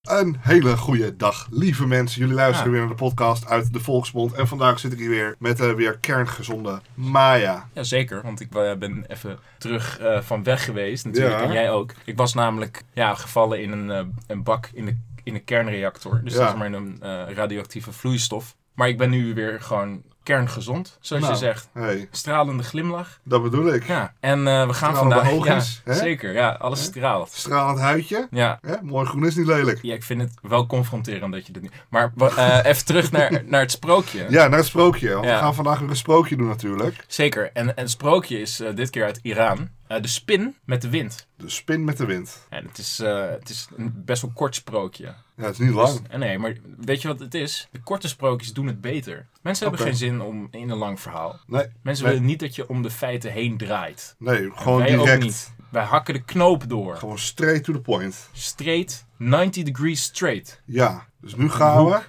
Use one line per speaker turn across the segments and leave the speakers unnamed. Een hele goede dag, lieve mensen. Jullie luisteren weer naar de podcast uit de Volksmond. En vandaag zit ik hier weer met eh, weer kerngezonde Maya.
Ja, zeker. Want ik eh, ben even terug eh, van weg geweest. Natuurlijk.
Ja.
En jij ook. Ik was namelijk ja, gevallen in een, eh, een bak in de, in een kernreactor. Dus
Ja.
dat is maar in een eh, radioactieve vloeistof. Maar ik ben nu weer gewoon kerngezond. Zoals
Nou.
je zegt.
hey,
Stralende glimlach.
dat bedoel ik.
Ja. En eh, we gaan
Stralende
vandaag...
oogjes,
ja,
hè?
zeker. Ja, alles straalt.
Stralend huidje.
Ja.
Hè? Mooi groen is niet lelijk.
ja, ik vind het wel confronterend dat je dit nu... Maar wa- eh, even terug naar, naar het sprookje.
Ja, naar het sprookje. Want we
Ja.
gaan vandaag weer een sprookje doen natuurlijk.
Zeker. En, en het sprookje is eh, dit keer uit Iran. Eh, de spin met de wind.
De spin met de wind.
Ja, het is, eh, het is een best wel kort sprookje.
Ja, het is niet
Dus-
lang.
eh, nee, maar weet je wat het is? De korte sprookjes doen het beter. Mensen
Oké.
hebben geen zin om in een lang verhaal.
Nee,
Mensen
Nee.
willen niet dat je om de feiten heen draait.
nee gewoon
Wij ook
direct.
niet. Wij hakken de knoop door.
Gewoon straight to the point.
Straight, 90 degrees straight.
Ja, dus nu gaan we.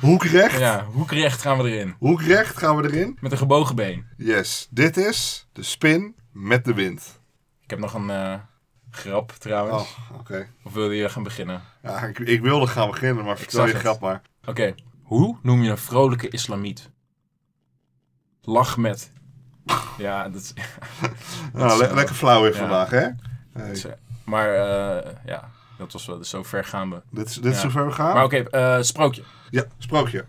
Hoekrecht.
ja, hoekrecht gaan we erin.
Hoekrecht gaan we erin.
Met een gebogen been.
Yes, dit is de spin met de wind.
Ik heb nog een eh, grap trouwens.
Oh, oké.
Of wilde je gaan beginnen?
Ja, ik, ik wilde gaan beginnen, maar vertel
zag
je
het.
grap maar.
Oké, hoe noem je een vrolijke islamiet? Lach met. Ja, dat is...
Nou, le- lekker flauw weer
Ja.
vandaag, hè? Hey,
Dat is, eh, Maar eh, ja, dat was wel, dus zo ver gaan we.
dit is, dit is
Ja.
zover we gaan.
Maar oké, eh, sprookje. Nee,
Ja, sprookje.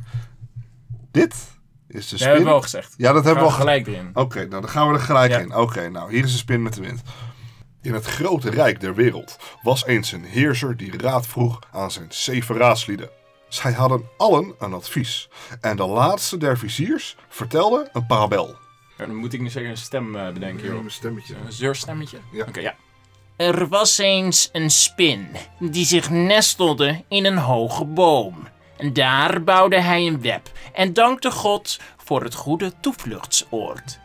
Dit is de
we
spin.
hebben wel gezegd.
Ja, dat
We
hebben we al
gaan
gelijk.
gelijk erin.
Oké, nou dan gaan we er gelijk
Ja.
in. Oké, nou hier is de spin met de wind. In het grote rijk der wereld was eens een heerser die raad vroeg aan zijn zeven raadslieden. Zij hadden allen een advies. En de laatste der viziers vertelde een parabel.
Ja, dan moet ik nu zeker een stem eh, bedenken, joh.
stemmetje.
Een zeurstemmetje?
Ja.
Oké, ja.
Er was eens een spin die zich nestelde in een hoge boom. En daar bouwde hij een web en dankte God voor het goede toevluchtsoord.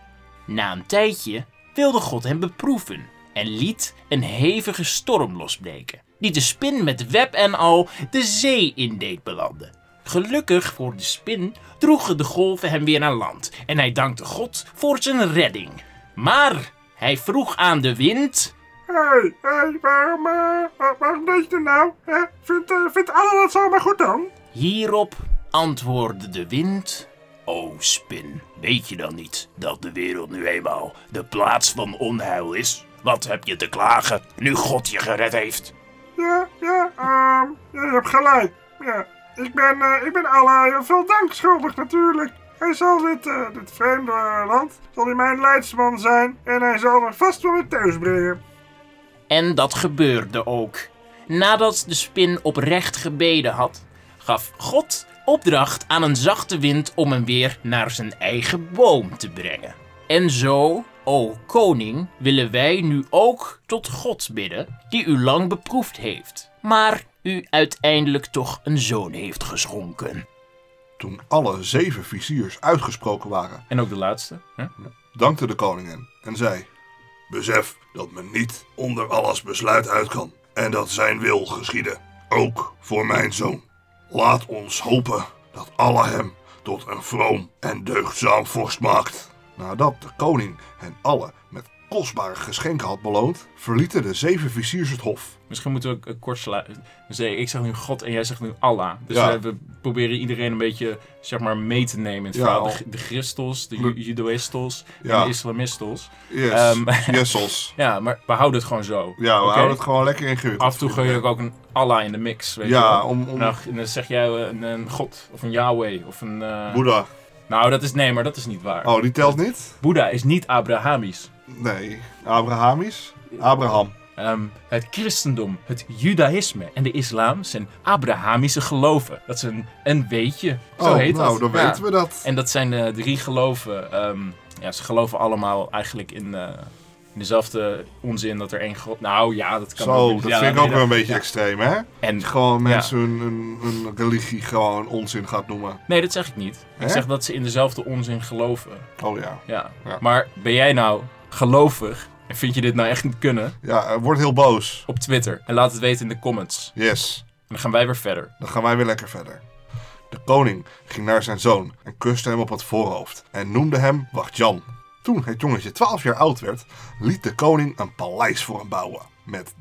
Na een tijdje wilde God hem beproeven en liet een hevige storm losbreken, die de spin met web en al de zee in deed belanden. Gelukkig voor de spin droegen de golven hem weer aan land en hij dankte God voor zijn redding. Maar hij vroeg aan de wind.
Hé, hé, waarom, eh, waarom deed je dit nou? hè? Vindt, eh, vindt Anna dat zomaar goed dan?
Hierop antwoordde de wind. O spin, weet je dan niet dat de wereld nu eenmaal de plaats van onheil is? Wat heb je te klagen nu God je gered heeft?
Ja, ja, ehm, ja, je hebt gelijk. Ja, ik ben, eh, ik ben Allah heel veel dank schuldig natuurlijk. Hij zal dit, eh, dit vreemde eh, land, zal hij mijn leidsman zijn en hij zal me vast wel weer thuis brengen.
En dat gebeurde ook. Nadat de spin oprecht gebeden had, gaf God opdracht aan een zachte wind om hem weer naar zijn eigen boom te brengen. En zo, o koning, willen wij nu ook tot God bidden, die u lang beproefd heeft, maar u uiteindelijk toch een zoon heeft geschonken.
Toen alle zeven viziers uitgesproken waren,
En ook de laatste. Hè?
dankte de koningin en zei... Besef dat men niet onder alles besluit uit kan en dat zijn wil geschieden, ook voor mijn zoon. Laat ons hopen dat Allah hem tot een vroom en deugdzaam vorst maakt. Nadat de koning hen alle met kostbare geschenken had beloond, verlieten de zeven viziers het hof.
Misschien moeten we ook eh, kort sluiten. Dus, eh, ik zeg nu God en jij zegt nu Allah. Dus
Ja.
we, we proberen iedereen een beetje zeg maar, mee te nemen in het
Ja,
verhaal.
al-
De, de Christels, de
Lu-
Ju- Judoïstels
Ja.
en de Islamistels.
Yes,
Ehm.
yesels.
Ja, maar we houden het gewoon zo.
Ja, we
Oké?
houden het gewoon lekker ingewikkeld.
Af en toe gooi ik ook een Allah in de mix. Weet je
Ja,
wel.
om, om
Nou, en dan zeg jij eh, een, een god of een Yahweh of een... eh,
Boeddha.
Nou, dat is... Nee, maar dat is niet waar.
Oh, die telt niet?
Boeddha is niet Abrahamisch.
Nee. Abrahamisch? Abraham.
Ehm, het christendom, het judaïsme en de islam zijn Abrahamische geloven. Dat is een, een weetje. Zo
oh,
heet
nou,
dat.
dan
Ja.
weten we dat.
En dat zijn de drie geloven. ehm, ja, ze geloven allemaal eigenlijk in, eh, in dezelfde onzin dat er één god... Nou ja, dat kan
Zo,
ook.
dat
Ja,
vind ik
nee,
ook wel een
dat-
beetje
ja.
extreem, hè?
En
Dat gewoon mensen hun, hun, hun religie gewoon onzin gaat noemen.
Nee, dat zeg ik niet.
Hè?
Ik zeg dat ze in dezelfde onzin geloven.
Oh ja.
Ja.
Ja.
Maar ben jij nou gelovig en vind je dit nou echt niet kunnen?
Ja, eh, wordt heel boos.
Op Twitter. En laat het weten in de comments.
Yes,
En dan gaan wij weer verder.
dan gaan wij weer lekker verder. De koning ging naar zijn zoon en kuste hem op het voorhoofd en noemde hem Wachtjan. Toen het jongetje 12 jaar oud werd, liet de koning een paleis voor hem bouwen. met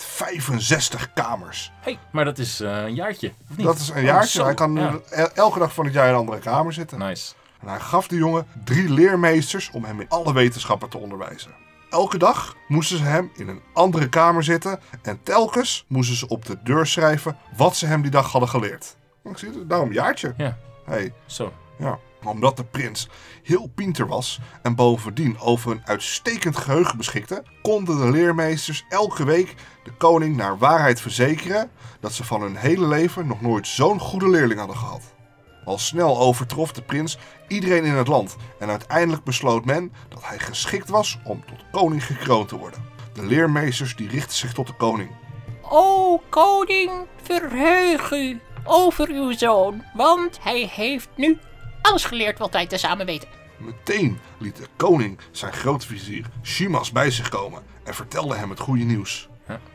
365 kamers.
hey, maar dat is eh, een jaartje, of niet?
Dat is een
Oh,
jaartje.
zo,
hij kan
ja.
el- elke dag van het jaar in een andere kamer zitten.
Nice.
En hij gaf de jongen drie leermeesters om hem in alle wetenschappen te onderwijzen. Elke dag moesten ze hem in een andere kamer zitten en telkens moesten ze op de deur schrijven wat ze hem die dag hadden geleerd. Ik zie het, daarom jaartje.
Ja,
Hey,
zo.
ja. Omdat de prins heel pinter was en bovendien over een uitstekend geheugen beschikte, konden de leermeesters elke week de koning naar waarheid verzekeren dat ze van hun hele leven nog nooit zo'n goede leerling hadden gehad. Al snel overtrof de prins iedereen in het land en uiteindelijk besloot men dat hij geschikt was om tot koning gekroond te worden. De leermeesters die richtten zich tot de koning.
O koning, verheug u over uw zoon, want hij heeft nu alles geleerd wat wij tezamen weten.
Meteen liet de koning zijn grootvizier Shimas bij zich komen en vertelde hem het goede nieuws.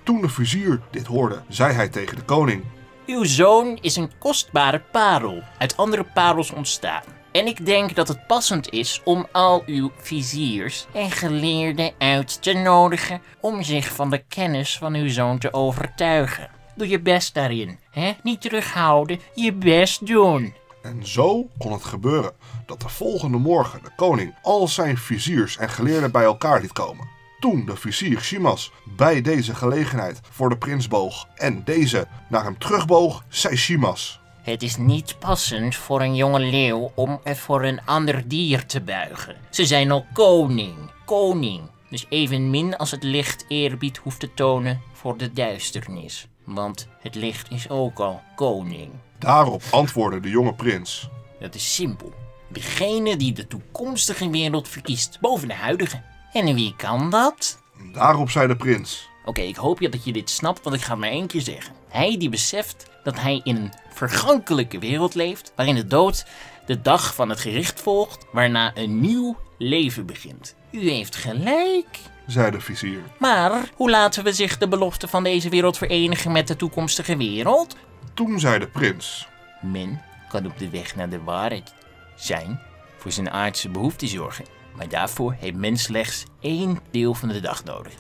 Toen de vizier dit hoorde, zei hij tegen de koning:
Uw zoon is een kostbare parel, uit andere parels ontstaan. En ik denk dat het passend is om al uw viziers en geleerden uit te nodigen om zich van de kennis van uw zoon te overtuigen. Doe je best daarin, hè? Niet terughouden, je best doen.
En zo kon het gebeuren dat de volgende morgen de koning al zijn viziers en geleerden bij elkaar liet komen. Toen de vizier Shimas bij deze gelegenheid voor de prins boog en deze naar hem terugboog, zei Shimas:
Het is niet passend voor een jonge leeuw om er voor een ander dier te buigen. Ze zijn al koning, koning. Dus evenmin als het licht eerbied hoeft te tonen voor de duisternis. Want het licht is ook al koning.
Daarop antwoordde de jonge prins:
Dat is simpel. Degene die de toekomstige wereld verkiest boven de huidige. En wie kan dat?
Daarop zei de prins:
Oké, ik hoop dat je dit snapt, want ik ga het maar één keer zeggen. Hij die beseft dat hij in een vergankelijke wereld leeft, waarin de dood de dag van het gericht volgt, waarna een nieuw leven begint. U heeft gelijk.
zei de vizier.
Maar hoe laten we zich de belofte van deze wereld verenigen met de toekomstige wereld?
Toen zei de prins:
Men kan op de weg naar de waarheid zijn, voor zijn aardse behoeften zorgen. Maar daarvoor heeft men slechts één deel van de dag nodig.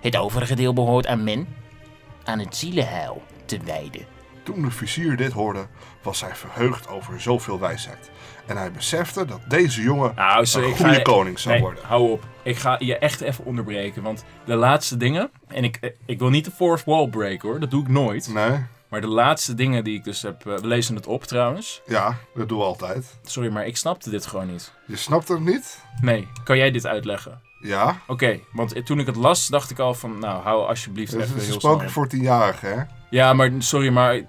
Het overige deel behoort aan men, aan het zielenheil te wijden.
Toen de vizier dit hoorde, was hij verheugd over zoveel wijsheid. En hij besefte dat deze jongen
Nou, ze-
een
ik
goede
ga-
koning zou
nee,
worden.
Hou op. Ik ga je echt even onderbreken. Want de laatste dingen. En ik, eh, ik wil niet de fourth wall breken hoor. Dat doe ik nooit.
Nee,
Maar de laatste dingen die ik dus heb. eh, we lezen het op trouwens.
ja, dat doen we altijd.
Sorry, maar ik snapte dit gewoon niet.
Je snapt het niet?
Nee, kan jij dit uitleggen?
Ja,
Oké, want toen ik het las, dacht ik al van. Nou, hou alsjeblieft
dit
even
is
heel snel.
gesproken voor tienjarigen, hè?
op. Ja, maar sorry, maar. eh,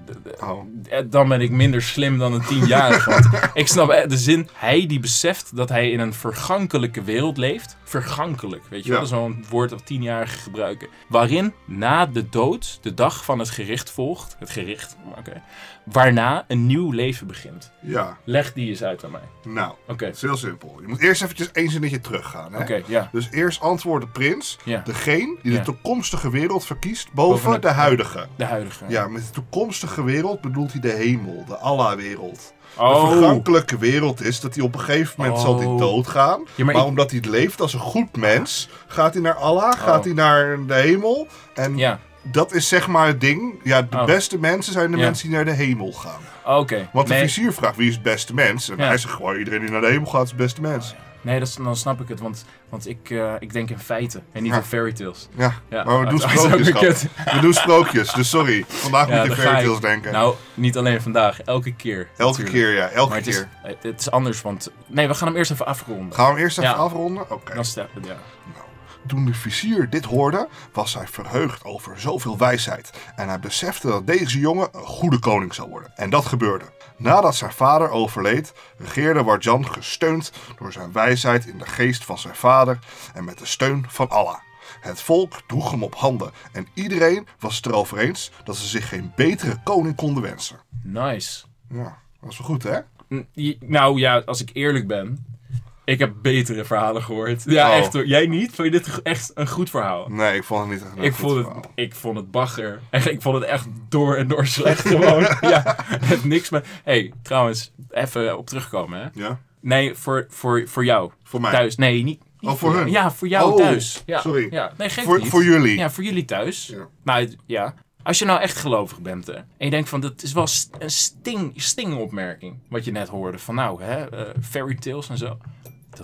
Oh.
eh, Dan ben ik minder slim dan een tienjarige. want ik snap eh, de zin. Hij die beseft dat hij in een vergankelijke wereld leeft. Vergankelijk, weet je wel?
Ja.
Dat is wel een woord dat tienjarigen gebruiken. Waarin na de dood de dag van het gericht volgt. Het gericht, oké. Waarna een nieuw leven begint.
Ja,
Leg die eens uit aan mij. Oké,
nou,
oké,
het is heel simpel. Je moet eerst eventjes één zinnetje teruggaan, hè?
ja.
Dus eerst antwoordde prins,
Ja.
degene die
Ja.
de toekomstige wereld verkiest boven,
Boven de-
de huidige.
De huidige.
Ja, met de toekomstige wereld bedoelt hij de hemel, de Allah-wereld. De
Oh,
vergankelijke wereld is dat hij op een gegeven moment zal hij
Oh.
doodgaan.
Ja, maar
maar
ik-
omdat hij leeft als een goed mens, gaat hij naar Allah, gaat hij naar de hemel. En
Oh. ja.
dat is zeg maar het ding. Ja, de
Oh.
beste mensen zijn de
Ja.
mensen die naar de hemel gaan.
Oké.
Want
nee,
de vizier vraagt wie is het beste mens. En
Ja. Oh,
hij zegt gewoon iedereen die naar de hemel gaat is het beste mens.
nee dat, is- dan snap ik het, want, want ik, eh, ik denk in feiten en niet
Ja.
in fairy tales.
Ja,
Ja,
maar we doen
dat is ook
sprookjes.
weer
schat. We doen sprookjes, dus sorry. Vandaag moet
dan
ik
ga
fairy
ik-
tales denken.
Nou, niet alleen vandaag, elke keer.
elke
natuurlijk.
keer, ja, elke
Maar het is,
keer.
eh, het is anders, want... Nee, we gaan hem eerst even afronden.
Gaan we hem eerst even
Ja.
afronden? Oké.
Dan stel- ja.
Nou, Toen de vizier dit hoorde, was hij verheugd over zoveel wijsheid. En hij besefte dat deze jongen een goede koning zou worden. En dat gebeurde. Nadat zijn vader overleed, regeerde Warjan gesteund door zijn wijsheid in de geest van zijn vader en met de steun van Allah. Het volk droeg hem op handen en iedereen was het erover eens dat ze zich geen betere koning konden wensen.
Nice.
Ja, dat is wel goed hè?
N- je- Nou ja, als ik eerlijk ben... Ik heb betere verhalen gehoord. Ja,
Oh.
echt hoor. Jij niet? Vond je dit go- echt een goed verhaal?
Nee, ik vond het niet echt een
Ik
goed
vond, het,
verhaal.
ik vond het bagger. Echt, ik vond het echt door en door slecht gewoon. ja, het niks met... hey, trouwens, even op terugkomen hè.
Ja?
Nee, voor, voor, voor jou.
Voor mij?
Thuis. Nee, niet,
Oh, voor hun?
Ja, voor jou
Oh,
thuis. Ja.
sorry.
Ja. Nee, geeft
Voor-
niet.
voor jullie.
Ja, voor jullie thuis.
Ja.
Nou, het- ja. Als je nou echt gelovig bent hè, en je denkt van dat is wel st- een sting, stingopmerking wat je net hoorde van nou hè, eh, fairy tales en zo.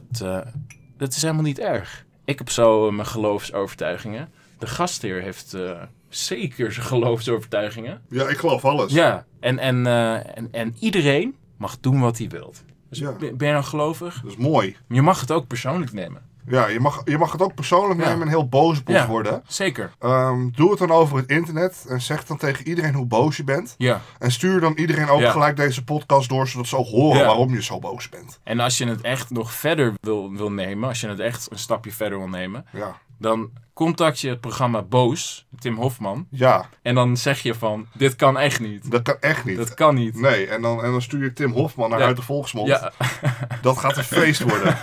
Dat, eh, dat is helemaal niet erg. Ik heb zo eh, mijn geloofsovertuigingen. De gastheer heeft eh, zeker zijn geloofsovertuigingen.
Ja, ik geloof alles.
Ja, en, en, eh, en, en iedereen mag doen wat hij wilt. Dus
Ja.
ben ben je nou gelovig?
Dat is mooi.
Je mag het ook persoonlijk nemen.
Ja, je mag, je mag het ook persoonlijk
Ja.
nemen en heel boos op ons
Ja.
worden.
Zeker.
Ehm, doe het dan over het internet en zeg dan tegen iedereen hoe boos je bent.
Ja.
En stuur dan iedereen ook
Ja.
gelijk deze podcast door, zodat ze ook horen
Ja.
waarom je zo boos bent.
En als je het echt nog verder wil, wil nemen, als je het echt een stapje verder wil nemen,
Ja.
dan contact je het programma Boos, Tim Hofman.
Ja,
En dan zeg je van, dit kan echt niet.
dat kan echt niet.
Dat kan niet.
Nee, en dan, en dan stuur je Tim Hofman naar
Ja.
uit de Volksmond.
Ja,
Dat gaat een feest worden.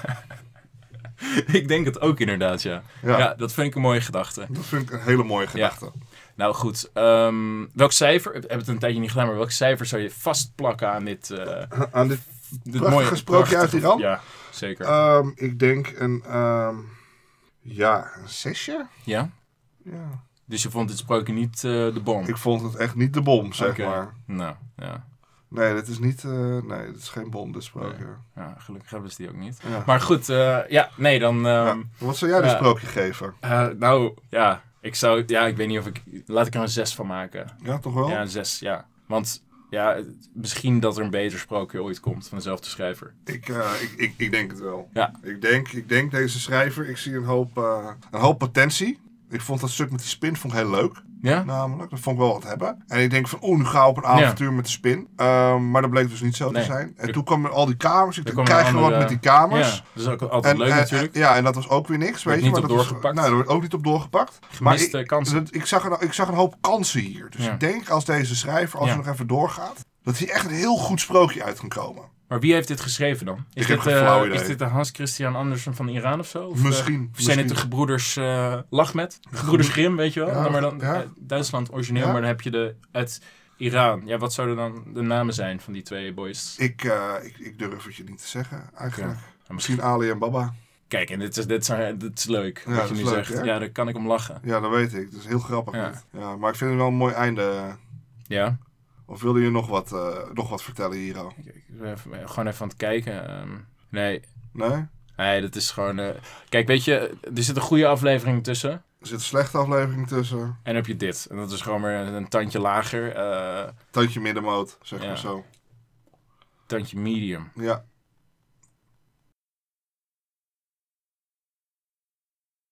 ik denk het ook inderdaad, ja.
Ja.
ja. dat vind ik een mooie gedachte.
Dat vind ik een hele mooie gedachte.
Nou goed, ehm, welk cijfer, ik heb het een tijdje niet gedaan, maar welk cijfer zou je vastplakken aan dit... eh,
Aan dit,
Dit
Prachtige sprookje uit Iran?
Ja, zeker.
ehm, ik denk een, ehm, ja, een zesje?
ja?
Ja.
Dus je vond dit sprookje niet eh, de bom?
Ik vond het echt niet de bom, zeg
Oké.
maar.
Nou, ja.
Nee, dat is niet, eh, nee, dat is geen bom, dit sprookje.
ja. Gelukkig hebben ze die ook niet.
Ja.
Maar goed, eh, ja, nee, dan...
Ja.
ehm,
Wat zou jij dit
ja.
sprookje geven?
eh, nou, ja, ik zou... Ja, ik weet niet of ik... Laat ik er een zes van maken.
Ja, toch wel?
Ja, een zes, ja. Want, ja, het- misschien dat er een beter sprookje ooit komt van dezelfde schrijver.
Ik, eh, ik, ik, ik denk het wel.
Ja.
Ik, denk, ik denk deze schrijver, ik zie een hoop, eh, een hoop potentie. Ik vond dat stuk met die spin vond ik heel leuk,
Ja?
namelijk. Dat vond ik wel wat hebben. En ik denk van, oeh, nu ga ik op een avontuur met de spin. Ehm, maar dat bleek dus niet zo
Nee.
te zijn. En
Er-
toen kwamen al die kamers. Ik dacht,
komen
krijgen we wat
andere-
met die kamers?
Ja, dat is ook altijd
En- eh,
leuk
en-
natuurlijk.
en- ja, en dat was ook weer niks. Weet je,
niet
maar
op
dat was-
doorgepakt.
nou, er wordt ook niet op doorgepakt.
Gemiste
eh, maar ik,
kansen.
dat- Ik, zag een, ik zag een hoop kansen hier. Dus
Ja.
ik denk als deze schrijver, als
Ja.
hij nog even doorgaat, dat hier echt een heel goed sprookje uit kan komen.
Maar wie heeft dit geschreven dan? Is,
Ik heb
dit,
geen
eh,
flauw idee.
is dit de Hans Christian Andersen van Iran of zo? Of, eh,
Misschien,
of zijn het de
misschien.
gebroeders eh Lachmet? Gebroeders Grim, weet je wel?
Ja,
Dan maar dan,
ja.
eh, Duitsland origineel,
Ja.
maar dan heb je de uit Iran. Ja, wat zouden dan de namen zijn van die twee boys?
Ik, eh, ik, ik durf het je niet te zeggen, eigenlijk.
Ja,
Misschien Ali en Baba.
Kijk, en dit is, dit zijn, dit is leuk
Ja,
wat je
dat
nu
is leuk,
zegt.
hè?
Ja, daar kan ik om lachen.
Ja, dat weet ik. Dat is heel grappig.
Ja.
dit. Ja, maar ik vind het wel een mooi einde.
Ja,
Of wilde je nog wat, eh, nog wat vertellen, Hiro?
ik, ik ben even- gewoon even aan het kijken. ehm, nee,
Nee? Er
nee, dat is gewoon... eh, kijk, weet je, er zit een goede aflevering tussen.
zit een slechte aflevering tussen.
En dan heb je dit. En dat is gewoon weer een, een tandje lager. eh,
Tandje middenmoot, zeg
Ja.
maar zo.
tandje medium.
Ja,